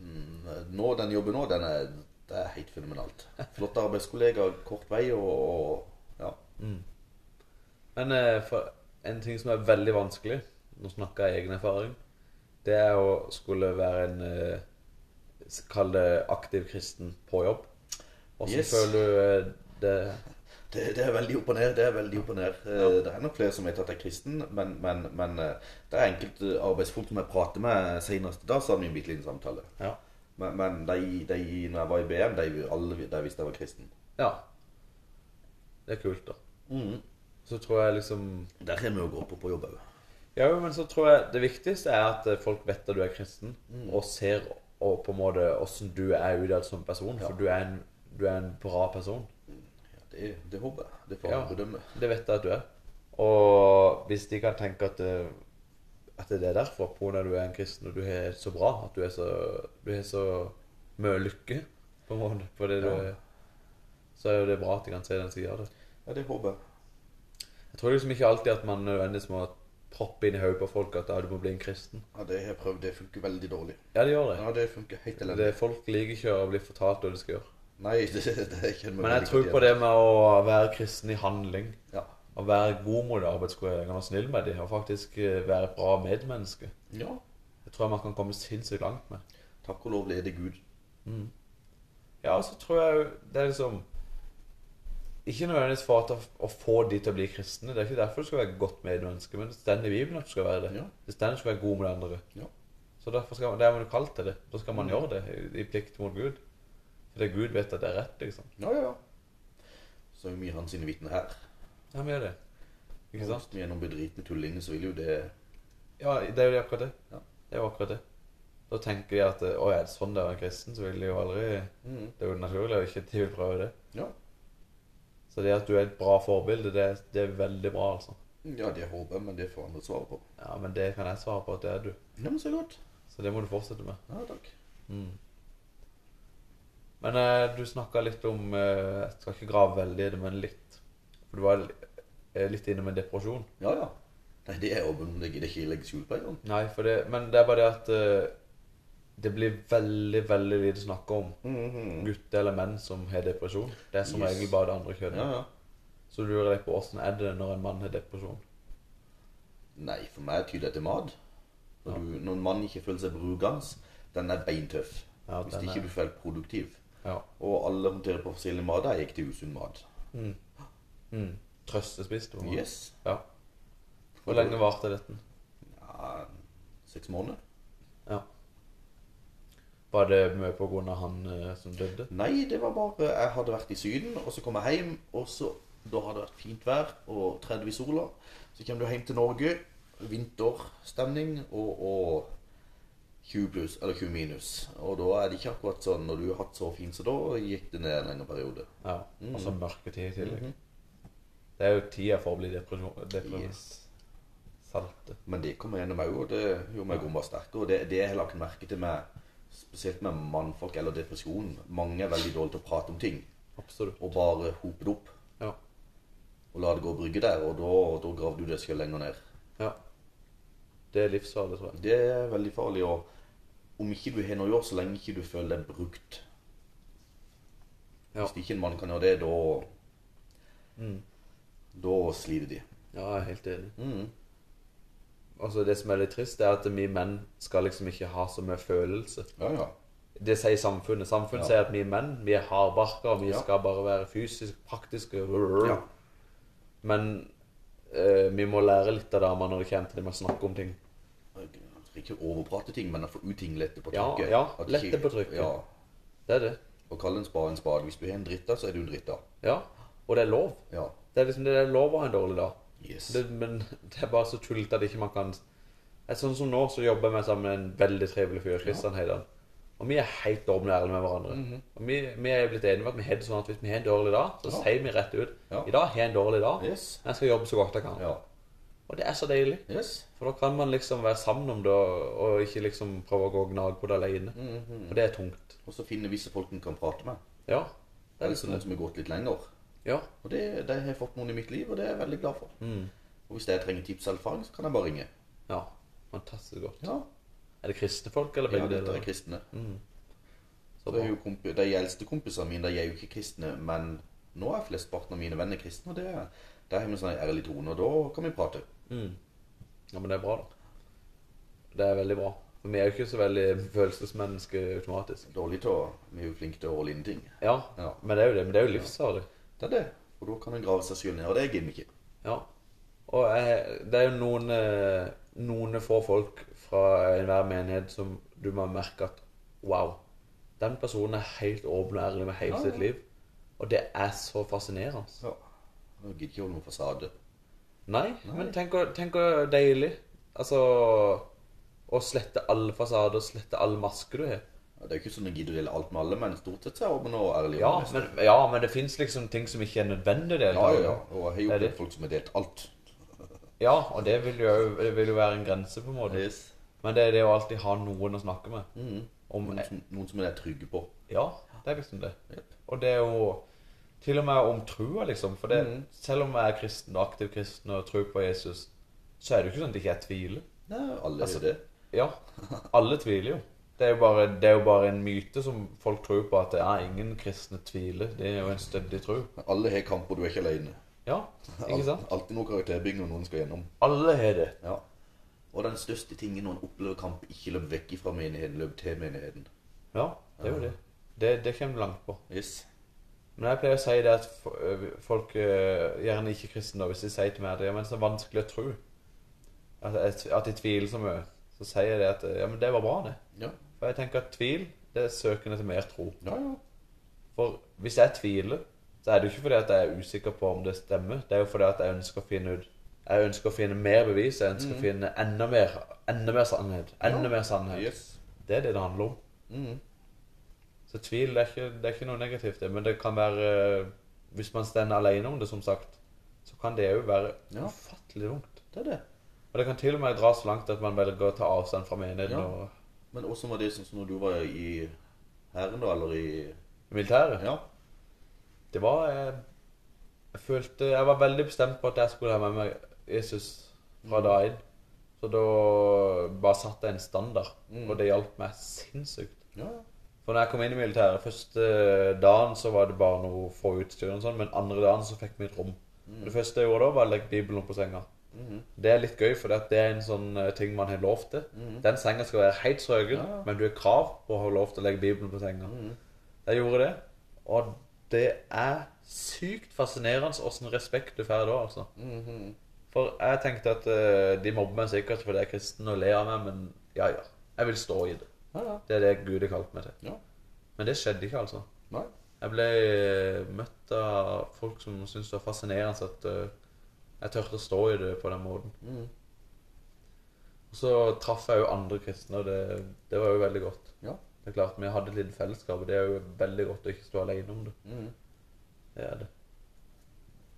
Speaker 2: Mm, Nå, den jobben nå, den er, det er helt fenomenalt. Flotte arbeidskollegaer, kort vei og, og ja.
Speaker 1: Mm. Men eh, for en ting som er veldig vanskelig, nå snakker jeg av egen erfaring, det er å skulle være en eh, s- Kall det aktiv kristen på jobb. Åssen
Speaker 2: Yes.
Speaker 1: føler du eh, det
Speaker 2: Det, det er veldig opp og ned. Det er veldig opp og ned. Eh, Det er nok flere som vet at jeg er kristen, men, men, men eh, det er enkelte arbeidsfolk som jeg prater med senest i dag, så hadde vi en bitte liten samtale.
Speaker 1: Ja.
Speaker 2: Men, men de, de, når jeg var i BM, de, alle, de visste jeg var kristen.
Speaker 1: ja. Det er kult, da. Så tror jeg liksom
Speaker 2: Der har vi jo gått på på jobb òg.
Speaker 1: Ja, jo, men så tror jeg det viktigste er at eh, folk vet at du er kristen, og ser og på en måte åssen du er utad som person, for du er, en, du er en bra person.
Speaker 2: Det, det håper jeg. Det får
Speaker 1: Ja,
Speaker 2: jeg bedømme.
Speaker 1: det vet jeg at du er. Og hvis de kan tenke at, eh, at det er derfor, på grunn av at du er en kristen og du har det så bra, at du er så, du har så mye lykke på en måte, på det du
Speaker 2: Ja.
Speaker 1: er, så er jo det bra at de kan se den sida av det.
Speaker 2: Ja, det håper jeg.
Speaker 1: Jeg tror liksom ikke alltid at man nødvendigvis må proppe inn i hodet på folk at ah, du må bli en kristen.
Speaker 2: Ja, det har jeg prøvd. Det funker veldig dårlig.
Speaker 1: Ja, det gjør det.
Speaker 2: Ja, det funker helt elendig.
Speaker 1: det folk liker ikke å bli fortalt hva de skal gjøre.
Speaker 2: Nei, det, det kjenner meg
Speaker 1: Men jeg
Speaker 2: veldig
Speaker 1: tror
Speaker 2: godt
Speaker 1: på det
Speaker 2: igjen.
Speaker 1: med å være kristen i handling.
Speaker 2: Ja.
Speaker 1: Å være god mot arbeidskollegene, være snill med dem og faktisk eh, være et bra medmenneske.
Speaker 2: ja.
Speaker 1: Det tror jeg man kan komme sinnssykt langt med.
Speaker 2: Takk og lov lede Gud.
Speaker 1: Ja, og så tror jeg jo det er liksom Ikke nødvendigvis for at å- å få de til å bli kristne. Det er ikke derfor du skal være et godt medmenneske, men det står i Bibelen at du skal være det.
Speaker 2: Ja.
Speaker 1: Det står at du skal være god med andre.
Speaker 2: Ja.
Speaker 1: Så derfor skal man, det er man jo kalt til det. Da skal man gjøre det i, i plikt mot Gud. Fordi Gud vet at det er rett, liksom.
Speaker 2: Ja, ja, ja. Så er jo mye hans sine vitner her.
Speaker 1: Ja, men gjør det. Ikke sant?
Speaker 2: Hvis vi er noen bedritne tullinger, så vil jo det
Speaker 1: Ja, det er jo akkurat det.
Speaker 2: Ja.
Speaker 1: Det er jo akkurat det. Da tenker de at eh, å, er det sånn det er å være kristen, så vil de jo aldri
Speaker 2: Mhm.
Speaker 1: Det er jo naturlig at de ikke vil prøve det.
Speaker 2: Ja.
Speaker 1: Så det at du er et bra forbilde, det, er- det er veldig bra, altså.
Speaker 2: Ja, det håper jeg, men det får andre svare på.
Speaker 1: Ja, men det kan jeg svare på at det er du.
Speaker 2: Ja, men så godt. Mm.
Speaker 1: Så det må du fortsette med.
Speaker 2: Ja, takk.
Speaker 1: Men eh, du snakka litt om eh, Jeg skal ikke grave veldig i det, men litt. For du var li- eh, litt inne med depresjon.
Speaker 2: Ja, ja. Nei, det er åpen, det gidder jeg ikke legge skjul på engang.
Speaker 1: Nei, for det, men det er bare det at eh, det blir veldig, veldig lite snakk om
Speaker 2: Mm-hmm.
Speaker 1: gutter eller menn som har depresjon. Det er som
Speaker 2: Mm. Yes.
Speaker 1: regel bare det andre kjønnet.
Speaker 2: Ja, ja.
Speaker 1: Så du lurer deg på åssen er det når en mann har depresjon?
Speaker 2: Nei, for meg tyder det til mat. Når, du, når en mann ikke føler seg brukende, den er beintøff.
Speaker 1: Ja,
Speaker 2: Hvis
Speaker 1: den
Speaker 2: ikke
Speaker 1: er-
Speaker 2: du føler produktiv.
Speaker 1: Ja.
Speaker 2: Og alle håndterer på forskjellige måter. Jeg gikk til usunn mat.
Speaker 1: Mm. Trøstespist? var det.
Speaker 2: Yes.
Speaker 1: Ja. Hvor lenge varte dette?
Speaker 2: Ja, seks måneder?
Speaker 1: Ja. Var det mye på grunn av han eh, som døde?
Speaker 2: Nei, det var bare Jeg hadde vært i Syden, og så kom jeg hjem, og så Da har det vært fint vær og 30 i sola. Så kommer du hjem til Norge. Vinterstemning og, og 20 pluss, eller 20 minus. Og da er det ikke akkurat sånn Når du har hatt så fint som da, gikk det ned en lengre periode.
Speaker 1: Ja. Altså mørketid i tillegg. Det er jo tida for å bli depresjon... depresjon.
Speaker 2: Yes.
Speaker 1: Salte.
Speaker 2: Men det kommer gjennom meg òg. Det gjorde meg rumba sterkere. Og det, det jeg har lagt merke til med Spesielt med mannfolk eller depresjon. Mange er veldig dårlige til å prate om ting.
Speaker 1: Absolutt.
Speaker 2: Og bare hope det opp.
Speaker 1: Ja.
Speaker 2: Og la det gå og brygge der. Og da, da graver du deg sjøl lenger ned.
Speaker 1: ja. Det er livsfarlig, tror jeg.
Speaker 2: Det er veldig farlig. Og om ikke du har noe å gjøre, så lenge ikke du føler deg brukt
Speaker 1: Ja. Mm.
Speaker 2: Hvis ikke en mann kan gjøre det, da Da sliter de.
Speaker 1: Ja, jeg er helt enig. Mm. Altså, det som er litt trist, er at vi menn skal liksom ikke ha så mye følelse.
Speaker 2: Ja, ja.
Speaker 1: Det sier samfunnet. Samfunnet
Speaker 2: Ja.
Speaker 1: sier at vi er menn, vi er hardbarka, og vi
Speaker 2: Ja.
Speaker 1: skal bare være fysisk praktiske.
Speaker 2: Ja.
Speaker 1: Men eh, vi må lære litt av damer når det kommer til det med å snakke om ting.
Speaker 2: Ikke overprate ting, men å få ut ting lette på
Speaker 1: Ja,
Speaker 2: trykket.
Speaker 1: ja,
Speaker 2: At
Speaker 1: lette på trykket.
Speaker 2: Ja.
Speaker 1: Det er det.
Speaker 2: Og kalle en spade en spade. Hvis du har en dritta, så er du en dritta.
Speaker 1: Ja. Og det er lov.
Speaker 2: Ja.
Speaker 1: Det er liksom det er lov å ha en dårlig dag.
Speaker 2: Yes.
Speaker 1: Det, men det er bare så tullete at ikke man kan Det er Sånn som nå, så jobber vi sammen med en veldig trivelig fyr, Kristian Heidan. Og vi er helt åpne og ærlige med hverandre.
Speaker 2: Mhm.
Speaker 1: Og vi, vi er blitt enige om at vi har det sånn at hvis vi har en dårlig dag, så
Speaker 2: Ja.
Speaker 1: sier vi rett ut
Speaker 2: Ja.
Speaker 1: I dag har jeg en dårlig dag,
Speaker 2: Yes.
Speaker 1: men jeg skal jobbe så godt jeg kan.
Speaker 2: Ja.
Speaker 1: Og det er så deilig.
Speaker 2: Yes.
Speaker 1: For da kan man liksom være sammen om det, og og ikke liksom prøve å gå og gnage på det alene.
Speaker 2: Mm.
Speaker 1: For det er tungt.
Speaker 2: Mhm. Og så finne visse folk en kan prate med.
Speaker 1: Ja. Det er
Speaker 2: Eller
Speaker 1: liksom
Speaker 2: noen
Speaker 1: det.
Speaker 2: som har gått litt lenger.
Speaker 1: Ja. mm.
Speaker 2: Og det, det har jeg fått noen i mitt liv, og det er jeg veldig glad for. Og hvis jeg trenger tips eller erfaring, så kan jeg bare ringe.
Speaker 1: ja. Fantastisk godt.
Speaker 2: Ja,
Speaker 1: Er det Mm. kristne folk, eller
Speaker 2: ja
Speaker 1: begge
Speaker 2: dette
Speaker 1: deler?
Speaker 2: er kristne.
Speaker 1: Så
Speaker 2: Det
Speaker 1: bra.
Speaker 2: er jo kompi de eldste kompisene mine de er jo ikke kristne, men nå er flesteparten av mine venner kristne. og det er- Der har vi sånn en ærlig tone, og da kan vi prate.
Speaker 1: Mm. Ja, men det er bra, da. Det er veldig bra. For vi er jo ikke så veldig følelsesmennesker automatisk.
Speaker 2: Dårlig til å Vi er jo flinke til å holde inne ting.
Speaker 1: Ja,
Speaker 2: Ja.
Speaker 1: men det er jo det. Men det er jo livsfarlig.
Speaker 2: Det er det. Og da kan en grave seg sjøl ned, og det gidder vi ikke.
Speaker 1: Ja. Og jeg, det er jo noen, eh, noen få folk fra enhver menighet som du må merke at Wow. Den personen er helt åpen og ærlig med hele
Speaker 2: Ja,
Speaker 1: sitt
Speaker 2: ja.
Speaker 1: liv. Og det er så fascinerende.
Speaker 2: Ja. Jeg gidder ikke holde noen fasade.
Speaker 1: Nei, men tenk å, tenk å deilig. Altså Å slette alle fasader, slette alle masker du har.
Speaker 2: Ja, Det er jo ikke sånn at jeg gidder å dele alt med alle, men stort sett så er jeg åpen og ærlig.
Speaker 1: Ja,
Speaker 2: og honest.
Speaker 1: men, ja, men det fins liksom ting som ikke er nødvendig. Det,
Speaker 2: ja, ja, ja. Og jeg har
Speaker 1: Er
Speaker 2: jo
Speaker 1: det?
Speaker 2: opplevd folk som har delt alt.
Speaker 1: ja, og det vil, jo, det vil jo være en grense, på en måte.
Speaker 2: Yes.
Speaker 1: Men det er det å alltid ha noen å snakke med.
Speaker 2: Mm.
Speaker 1: Om,
Speaker 2: Noen som, noen som en er trygge på.
Speaker 1: ja, det er liksom det.
Speaker 2: Jep.
Speaker 1: Og det er jo til og med om trua, liksom. For det,
Speaker 2: Mm.
Speaker 1: selv om jeg er kristen, og aktiv kristen og tror på Jesus, så er det jo ikke sånn at jeg ikke tviler.
Speaker 2: Nei, alle
Speaker 1: Altså-
Speaker 2: er det.
Speaker 1: Ja, alle tviler jo. Det er jo, bare, det er jo bare en myte som folk tror på, at det er ingen kristne tviler. Det er jo en stødig tro.
Speaker 2: Alle har kamper, du er ikke alene.
Speaker 1: Ja, ikke sant?
Speaker 2: Alt- Alltid noe karakterbygging når noen skal gjennom.
Speaker 1: Alle har det.
Speaker 2: Ja. Og den største tingen når en opplever kamp, ikke løp vekk fra menigheten, løp til menigheten.
Speaker 1: Ja, det er jo det. Det, det kommer du langt på.
Speaker 2: Yes.
Speaker 1: Men jeg pleier å si det at fo- øh, folk, øh, gjerne ikke kristne, da, hvis de sier til meg at ja, men det er så vanskelig å tro, at, jeg- at de tviler så mye, så sier jeg det at ja, men det var bra, det.
Speaker 2: Ja.
Speaker 1: For jeg tenker at tvil, det er søkende til mer tro.
Speaker 2: Ja, ja.
Speaker 1: For hvis jeg tviler, så er det jo ikke fordi at jeg er usikker på om det stemmer, det er jo fordi at jeg ønsker å finne ut jeg ønsker å finne mer bevis, jeg ønsker å finne enda mer, enda mer sannhet. Enda
Speaker 2: Mm. Ja.
Speaker 1: mer sannhet.
Speaker 2: Yes. Mm.
Speaker 1: Det er det det handler om. Så tvil det er, ikke, det er ikke noe negativt, det. Men det kan være eh, Hvis man står alene om det, som sagt, så kan det jo være
Speaker 2: Ja.
Speaker 1: ufattelig tungt.
Speaker 2: Det er det.
Speaker 1: Og det kan til og med dra så langt at man velger å ta avstand fra menigheten.
Speaker 2: Ja.
Speaker 1: Og,
Speaker 2: Men åssen var det sånn som når du var i Hæren, da, eller i
Speaker 1: Militæret?
Speaker 2: Ja.
Speaker 1: Det var eh, Jeg følte Jeg var veldig bestemt på at jeg skulle ha med meg Jesus fra da inn. Så da bare satte jeg en standard,
Speaker 2: Mm.
Speaker 1: og det hjalp meg sinnssykt.
Speaker 2: ja.
Speaker 1: For når jeg kom inn i militæret Første eh, dagen så var det bare noe få utstyr og sånn, men andre dagen så fikk vi et rom. Det første jeg gjorde da, var å legge Bibelen opp på senga.
Speaker 2: Mhm.
Speaker 1: Det er litt gøy, for det at det er en sånn eh, ting man har lov til. Den senga skal være helt strøken,
Speaker 2: Ja.
Speaker 1: men du har krav på å ha lov til å legge Bibelen på senga. Jeg gjorde det, og det er sykt fascinerende åssen respekt du får da, altså.
Speaker 2: Mm-hmm.
Speaker 1: For jeg tenkte at eh, de mobber meg sikkert fordi jeg er kristen og ler av meg, men ja, ja. Jeg vil stå i det.
Speaker 2: Ja, ja.
Speaker 1: Det er det Gud har kalt meg til.
Speaker 2: Ja.
Speaker 1: Men det skjedde ikke, altså.
Speaker 2: Nei.
Speaker 1: Jeg ble eh, møtt av folk som syntes det var fascinerende at eh, jeg turte å stå i det på den måten.
Speaker 2: Mhm.
Speaker 1: Og så traff jeg jo andre kristne, og det, det var jo veldig godt.
Speaker 2: Ja.
Speaker 1: Det er klart, Vi hadde et lite fellesskap, og det er jo veldig godt å ikke stå alene om det.
Speaker 2: Mhm.
Speaker 1: Det er det.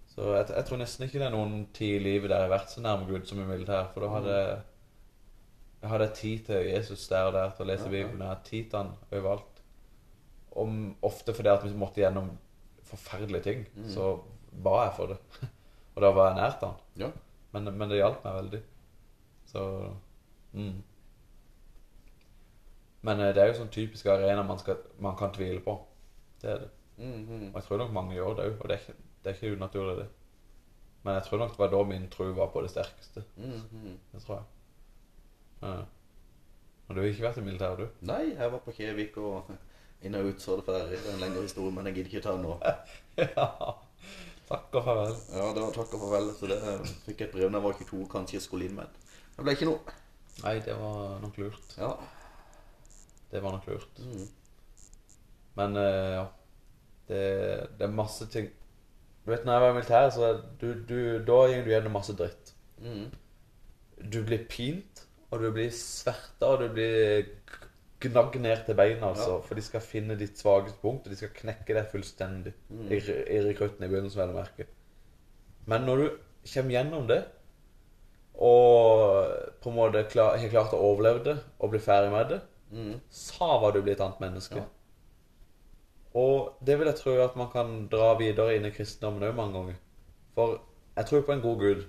Speaker 1: Så jeg, jeg tror nesten ikke det er noen tid i livet der jeg har vært så nærme Gud som i militæret, for da hadde jeg- jeg hadde tid til Jesus der og der, til å lese
Speaker 2: Mm. Ja, ja.
Speaker 1: Bibelen, jeg hadde tid til han overalt. Om, ofte fordi at vi måtte gjennom forferdelige ting,
Speaker 2: Mm.
Speaker 1: så ba jeg for det. og da var jeg nært han.
Speaker 2: Ja.
Speaker 1: Men, men det hjalp meg veldig. Så mm. Men eh, det er jo sånn typisk arena man, skal, man kan tvile på. Det er det.
Speaker 2: Mhm.
Speaker 1: Og jeg tror nok mange gjør det òg, og det er, ikke, det er ikke unaturlig, det. Men jeg tror nok det var da min tro var på det sterkeste.
Speaker 2: Mhm.
Speaker 1: Det tror jeg. Ja. Men du har ikke vært i militæret, du?
Speaker 2: Nei, jeg var på Kjevik og inn og ut, så det for det er en lengre historie, men jeg gidder ikke ta den nå.
Speaker 1: ja. Takk og farvel.
Speaker 2: Ja, det var takk og farvel, så det eh, fikk jeg et brev da jeg var 22, kanskje jeg skulle inn med den. Det ble ikke noe.
Speaker 1: Nei, det var nok lurt.
Speaker 2: Ja.
Speaker 1: Det var nok lurt.
Speaker 2: Mhm.
Speaker 1: Men eh, ja. Det, det er masse ting Du vet, når jeg var i militæret, så du, du, da gikk du gjennom masse dritt.
Speaker 2: Mhm.
Speaker 1: Du blir pint, og du blir sverta, og du blir g- gnagd ned til beina, altså. For de skal finne ditt svakeste punkt, og de skal knekke deg fullstendig i, re- i rekrutten i begynnelsen, vel å merke. Men når du kommer gjennom det, og på en måte klar, har klart å overleve det, og bli ferdig med det,
Speaker 2: Mhm.
Speaker 1: sa hva du blir et annet menneske.
Speaker 2: Ja.
Speaker 1: Og det vil jeg tro at man kan dra videre inn i kristendommen òg mange ganger. For jeg tror på en god gud.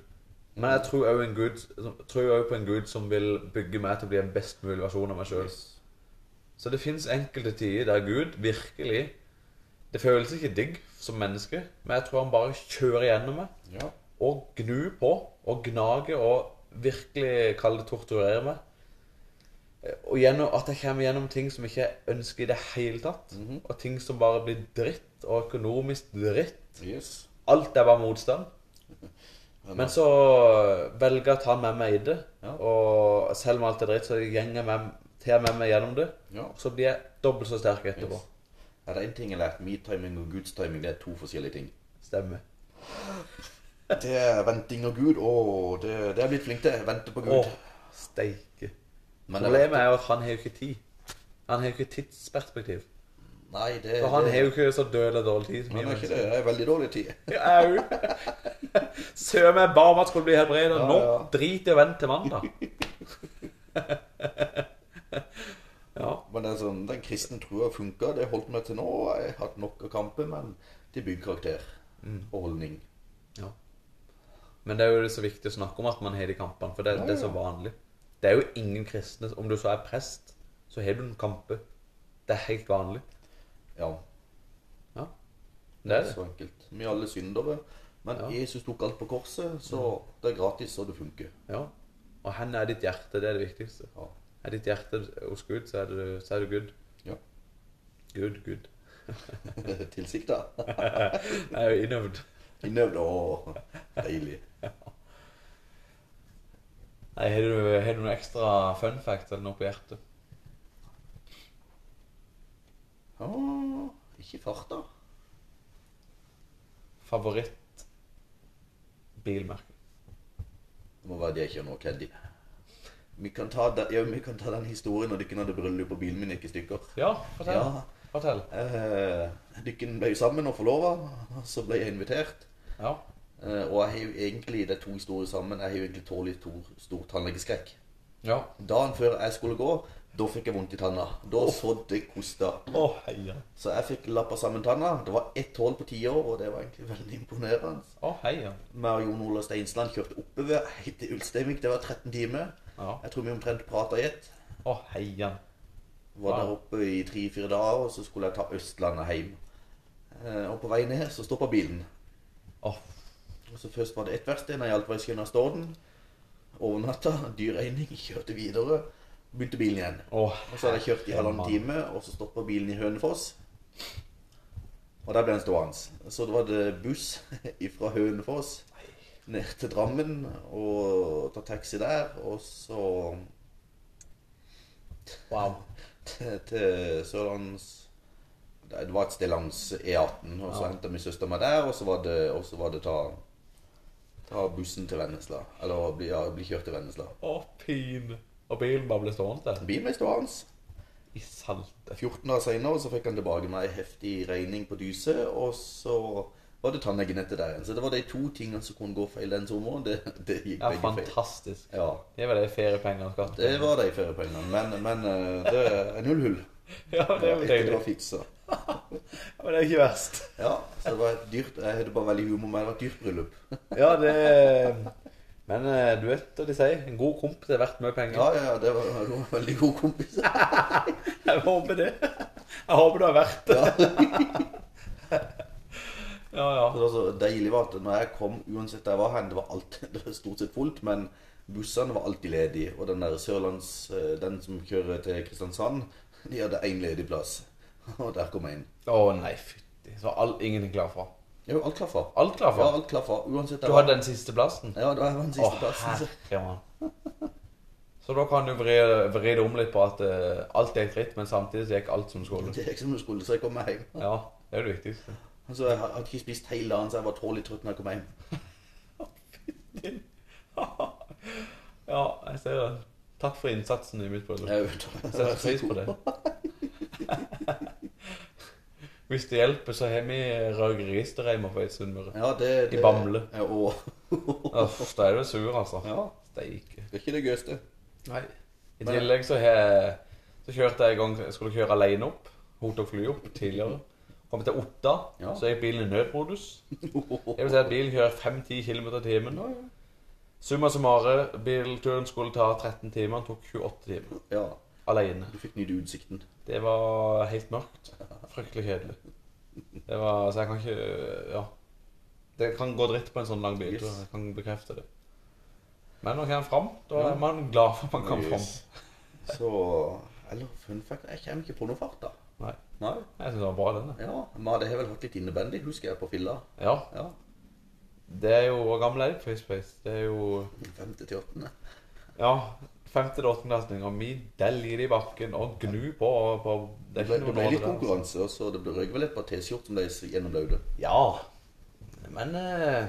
Speaker 1: Men jeg tror òg en gud som- tror også på en gud som vil bygge meg til å bli en best mulig versjon av meg sjøl. Så det fins enkelte tider der Gud virkelig Det føles ikke digg som menneske, men jeg tror han bare kjører gjennom meg
Speaker 2: Ja.
Speaker 1: og gnu på og gnage og virkelig kalle det torturere meg. Og gjennom, at jeg kommer gjennom ting som jeg ikke ønsker i det hele tatt.
Speaker 2: Mhm.
Speaker 1: Og ting som bare blir dritt, og økonomisk dritt.
Speaker 2: Yes. eh,
Speaker 1: Alt er bare motstand. Men så velger jeg å ta med meg i det.
Speaker 2: Ja.
Speaker 1: Og selv om alt er dritt, så gjenger jeg med, tar jeg med meg gjennom det.
Speaker 2: Ja.
Speaker 1: Og så blir jeg dobbelt så sterk etterpå.
Speaker 2: Yes. Er det en ting jeg har lært, me-timing og Guds timing, det er to forskjellige ting.
Speaker 1: Stemmer.
Speaker 2: Det er venting og Gud, og det, det er jeg blitt flink til. Vente på Gud.
Speaker 1: Å, steike.
Speaker 2: Men det,
Speaker 1: Problemet er jo at han har jo ikke tid. Han har jo ikke tidsperspektiv.
Speaker 2: nei, det,
Speaker 1: For han
Speaker 2: det,
Speaker 1: har jo ikke så dødelig dårlig tid som vi
Speaker 2: han er ikke
Speaker 1: mennesker.
Speaker 2: det. Det er veldig dårlig tid.
Speaker 1: Au! Søren meg ba om at skulle bli helbreda.
Speaker 2: Ja,
Speaker 1: Nå
Speaker 2: ja.
Speaker 1: drit i å vente til mandag. ja.
Speaker 2: Men det er sånn, den kristne trua funka. Det holdt meg til nå. Jeg har hatt nok av kamper, men det bygger karakter
Speaker 1: Mm.
Speaker 2: og holdning.
Speaker 1: ja. Men det er jo så viktig å snakke om at man har de kampene, for det,
Speaker 2: Ja,
Speaker 1: det er
Speaker 2: ja.
Speaker 1: så vanlig. Det er jo ingen kristne Om du så er prest, så har du en kampe. Det er helt vanlig.
Speaker 2: Ja,
Speaker 1: Ja. Det er det.
Speaker 2: så enkelt. Vi er alle syndere. Men
Speaker 1: Ja. Mm.
Speaker 2: Jesus tok alt på korset, så det er gratis, og det funker.
Speaker 1: Ja. Og hvor er ditt hjerte? Det er det viktigste.
Speaker 2: Ja.
Speaker 1: Er ditt hjerte hos Gud, så er du, så er du Gud.
Speaker 2: ja.
Speaker 1: Gud, Gud.
Speaker 2: Tilsikta.
Speaker 1: Jeg er jo innøvd.
Speaker 2: Innøvd og deilig.
Speaker 1: Nei, har du, har du noen ekstra fun facts eller noe på hjertet?
Speaker 2: Ja, ikke fart, da.
Speaker 1: Favoritt bilmerke?
Speaker 2: Det må være det jeg kjører nå, Keddy. Vi kan, ta den, ja, vi kan ta den historien når dere hadde bryllup og bilen min gikk i stykker.
Speaker 1: Ja, fortell.
Speaker 2: Ja.
Speaker 1: Fortell.
Speaker 2: Eh, dere ble jo sammen og forlova, så ble jeg invitert.
Speaker 1: Ja.
Speaker 2: Eh, og jeg har jo egentlig det er to historier sammen. Jeg har jo egentlig tålig to stor tannlegeskrekk.
Speaker 1: Ja.
Speaker 2: Dagen før jeg skulle gå, Da fikk jeg vondt i tanna. Da sådde jeg kosta.
Speaker 1: Å, heia.
Speaker 2: Så jeg fikk lappa sammen tanna. Det var ett hull på ti år, og det var egentlig veldig imponerende.
Speaker 1: Å, heia.
Speaker 2: Meg og Jon Olav Steinsland kjørte oppover helt til Ulsteinvik. Det var 13 timer.
Speaker 1: Ja.
Speaker 2: Jeg tror vi omtrent prata i ett.
Speaker 1: Å, heia.
Speaker 2: Var
Speaker 1: Wow.
Speaker 2: der oppe i tre-fire dager, og så skulle jeg ta Østlandet hjem. Eh, Og på vei ned så stoppa bilen.
Speaker 1: Å,
Speaker 2: Og så Først var det ett verksted, når jeg hjalp i Skinnastorden. Overnatta, dyr regning, kjørte videre. Begynte bilen igjen.
Speaker 1: å,
Speaker 2: Og så hadde jeg kjørt i halvannen
Speaker 1: mann.
Speaker 2: time, og så stoppa bilen i Hønefoss. Og der ble den stående. Så da var det buss fra Hønefoss ned til Drammen og ta taxi der, og så
Speaker 1: Wow.
Speaker 2: til, til Sørlands Nei, Det var et sted langs E18, og så
Speaker 1: Ja.
Speaker 2: henta min søster meg der, og så var det, og så var det ta, ta bussen til Vennesla. Eller bli, ja, bli kjørt til Vennesla.
Speaker 1: Å, pin. Og bilen bare ble stående der.
Speaker 2: Bilen ble stående.
Speaker 1: I salte.
Speaker 2: 14 dager seinere så fikk han tilbake meg en heftig regning på dyse, og så var det tannlegenettet der igjen. Så det var de to tingene som kunne gå feil den sommeren. Det, det gikk
Speaker 1: Ja,
Speaker 2: begge feil.
Speaker 1: fantastisk.
Speaker 2: Ja,
Speaker 1: Det var de feriepengene skatt.
Speaker 2: det var de feriepengene. Men, men eh, det er null hull.
Speaker 1: Ja, det var
Speaker 2: Etter det
Speaker 1: deilig.
Speaker 2: var fiksa.
Speaker 1: Ja, Men det er jo ikke verst.
Speaker 2: Ja, så det var et dyrt Jeg hadde bare veldig humor, men det var et dyrt bryllup.
Speaker 1: Ja, det Men eh, du vet hva de sier. En god kompis er verdt mye penger.
Speaker 2: Ja, ja, ja, det var, det var en veldig god kompis.
Speaker 1: Jeg håper det. Jeg håper du har vært det. Ja, ja.
Speaker 2: Det var så deilig var at når jeg kom, uansett der jeg var hen, det var alltid, det var stort sett fullt, men bussene var alltid ledige. Og den der Sørlands, eh, den som kjører til Kristiansand, de hadde én ledig plass. Og der kom jeg inn.
Speaker 1: Å nei, fytti. Så all, ingenting klar for.
Speaker 2: Jo, alt klaffa.
Speaker 1: Alt klar
Speaker 2: Ja,
Speaker 1: for?
Speaker 2: alt klaffa. Uansett
Speaker 1: Du
Speaker 2: der
Speaker 1: hadde den siste plassen?
Speaker 2: Ja, det var den
Speaker 1: Å,
Speaker 2: siste plassen. så-
Speaker 1: herre mann. Så da kan du vri, vri det om litt på at eh, alt gikk dritt, men samtidig så gikk alt som skulle.
Speaker 2: Det gikk som det skulle, så jeg kom meg hjem.
Speaker 1: Ja, det er jo det viktigste.
Speaker 2: Altså, jeg hadde ikke spist hele dagen, så jeg var tålelig trøtt når jeg kom hjem.
Speaker 1: Ja, jeg ser det. Takk for innsatsen i mitt bryllup.
Speaker 2: Jeg
Speaker 1: Jeg setter pris på det. Hvis det hjelper, så har vi røgeristereimer på Eidsundmøre.
Speaker 2: Ja, det,
Speaker 1: I
Speaker 2: det
Speaker 1: Bamble.
Speaker 2: Ja, og,
Speaker 1: Uff, da er du sur, altså.
Speaker 2: ja,
Speaker 1: Steike.
Speaker 2: det er ikke det gøyeste.
Speaker 1: Nei. I
Speaker 2: Men-
Speaker 1: tillegg så, har- så kjørte jeg en gang Jeg skulle kjøre alene opp. Hun tok flyet opp tidligere. Kom til Otta,
Speaker 2: Ja.
Speaker 1: så gikk bilen i nødmodus. Det vil si at bilen kjører 5-10 km i timen. Summa summare, bilturen skulle ta 13 timer, den tok 28 timer.
Speaker 2: Ja,
Speaker 1: Alene.
Speaker 2: du fikk nyte utsikten.
Speaker 1: Det var helt mørkt. Fryktelig kjedelig. Det var, så jeg kan ikke Ja. Det kan gå dritt på en sånn lang biltur.
Speaker 2: Yes.
Speaker 1: Jeg kan bekrefte det. Men når man kommer fram, da
Speaker 2: Ja.
Speaker 1: er man glad for at man kom fram.
Speaker 2: Yes. Så Eller fun fact, jeg kommer ikke på noe fart, da.
Speaker 1: Nei.
Speaker 2: Nei.
Speaker 1: Jeg syns det var bra, denne.
Speaker 2: Ja, men det har vel hatt litt innebandy, husker jeg, på filla.
Speaker 1: Ja.
Speaker 2: Ja.
Speaker 1: Det er jo Hvor gammel er jeg på FacePace? Det er jo
Speaker 2: Femte til åttende.
Speaker 1: Ja, femte- til åttendeklassinger. Vi deller det i bakken og gnu på. på
Speaker 2: Det ble, det ble litt
Speaker 1: nåde der, altså.
Speaker 2: konkurranse, og så det ble røyk vel et par T-skjorter som de gjennomløyde.
Speaker 1: Ja. Men eh,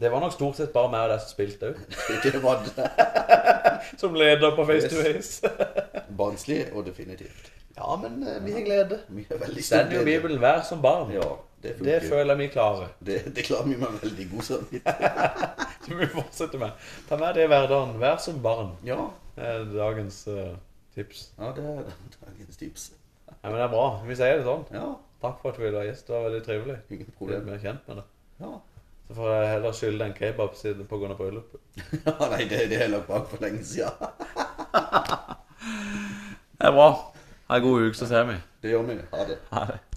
Speaker 1: det var nok stort sett bare meg og deg som spilte òg.
Speaker 2: Det var det.
Speaker 1: Som leder på Face to
Speaker 2: Yes.
Speaker 1: Face.
Speaker 2: barnslig og definitivt.
Speaker 1: Ja, men eh, vi har glede.
Speaker 2: Vi er veldig
Speaker 1: Den jo
Speaker 2: glede.
Speaker 1: Bibelen vær som barn.
Speaker 2: Ja,
Speaker 1: Det
Speaker 2: det funker.
Speaker 1: føler jeg vi klarer.
Speaker 2: Det, det klarer vi med veldig god samvittighet.
Speaker 1: Så vi fortsetter med. Ta med det i hverdagen. Vær som barn.
Speaker 2: Ja.
Speaker 1: Det er dagens eh, tips.
Speaker 2: ja, det er dagens tips.
Speaker 1: Ja, men det er bra. Vi sier det sånn.
Speaker 2: Ja,
Speaker 1: Takk for at du ville ha gjest. Det var veldig trivelig.
Speaker 2: ingen
Speaker 1: Ble
Speaker 2: problem.
Speaker 1: mer kjent med det.
Speaker 2: Ja.
Speaker 1: Så får jeg heller skylde en kebab siden på grunn av bryllupet.
Speaker 2: ja, nei, det, det er lagt bak for lenge siden.
Speaker 3: Det er bra. Ha en god uke, så ser vi.
Speaker 2: Det gjør vi. Ha det.
Speaker 3: Ha det.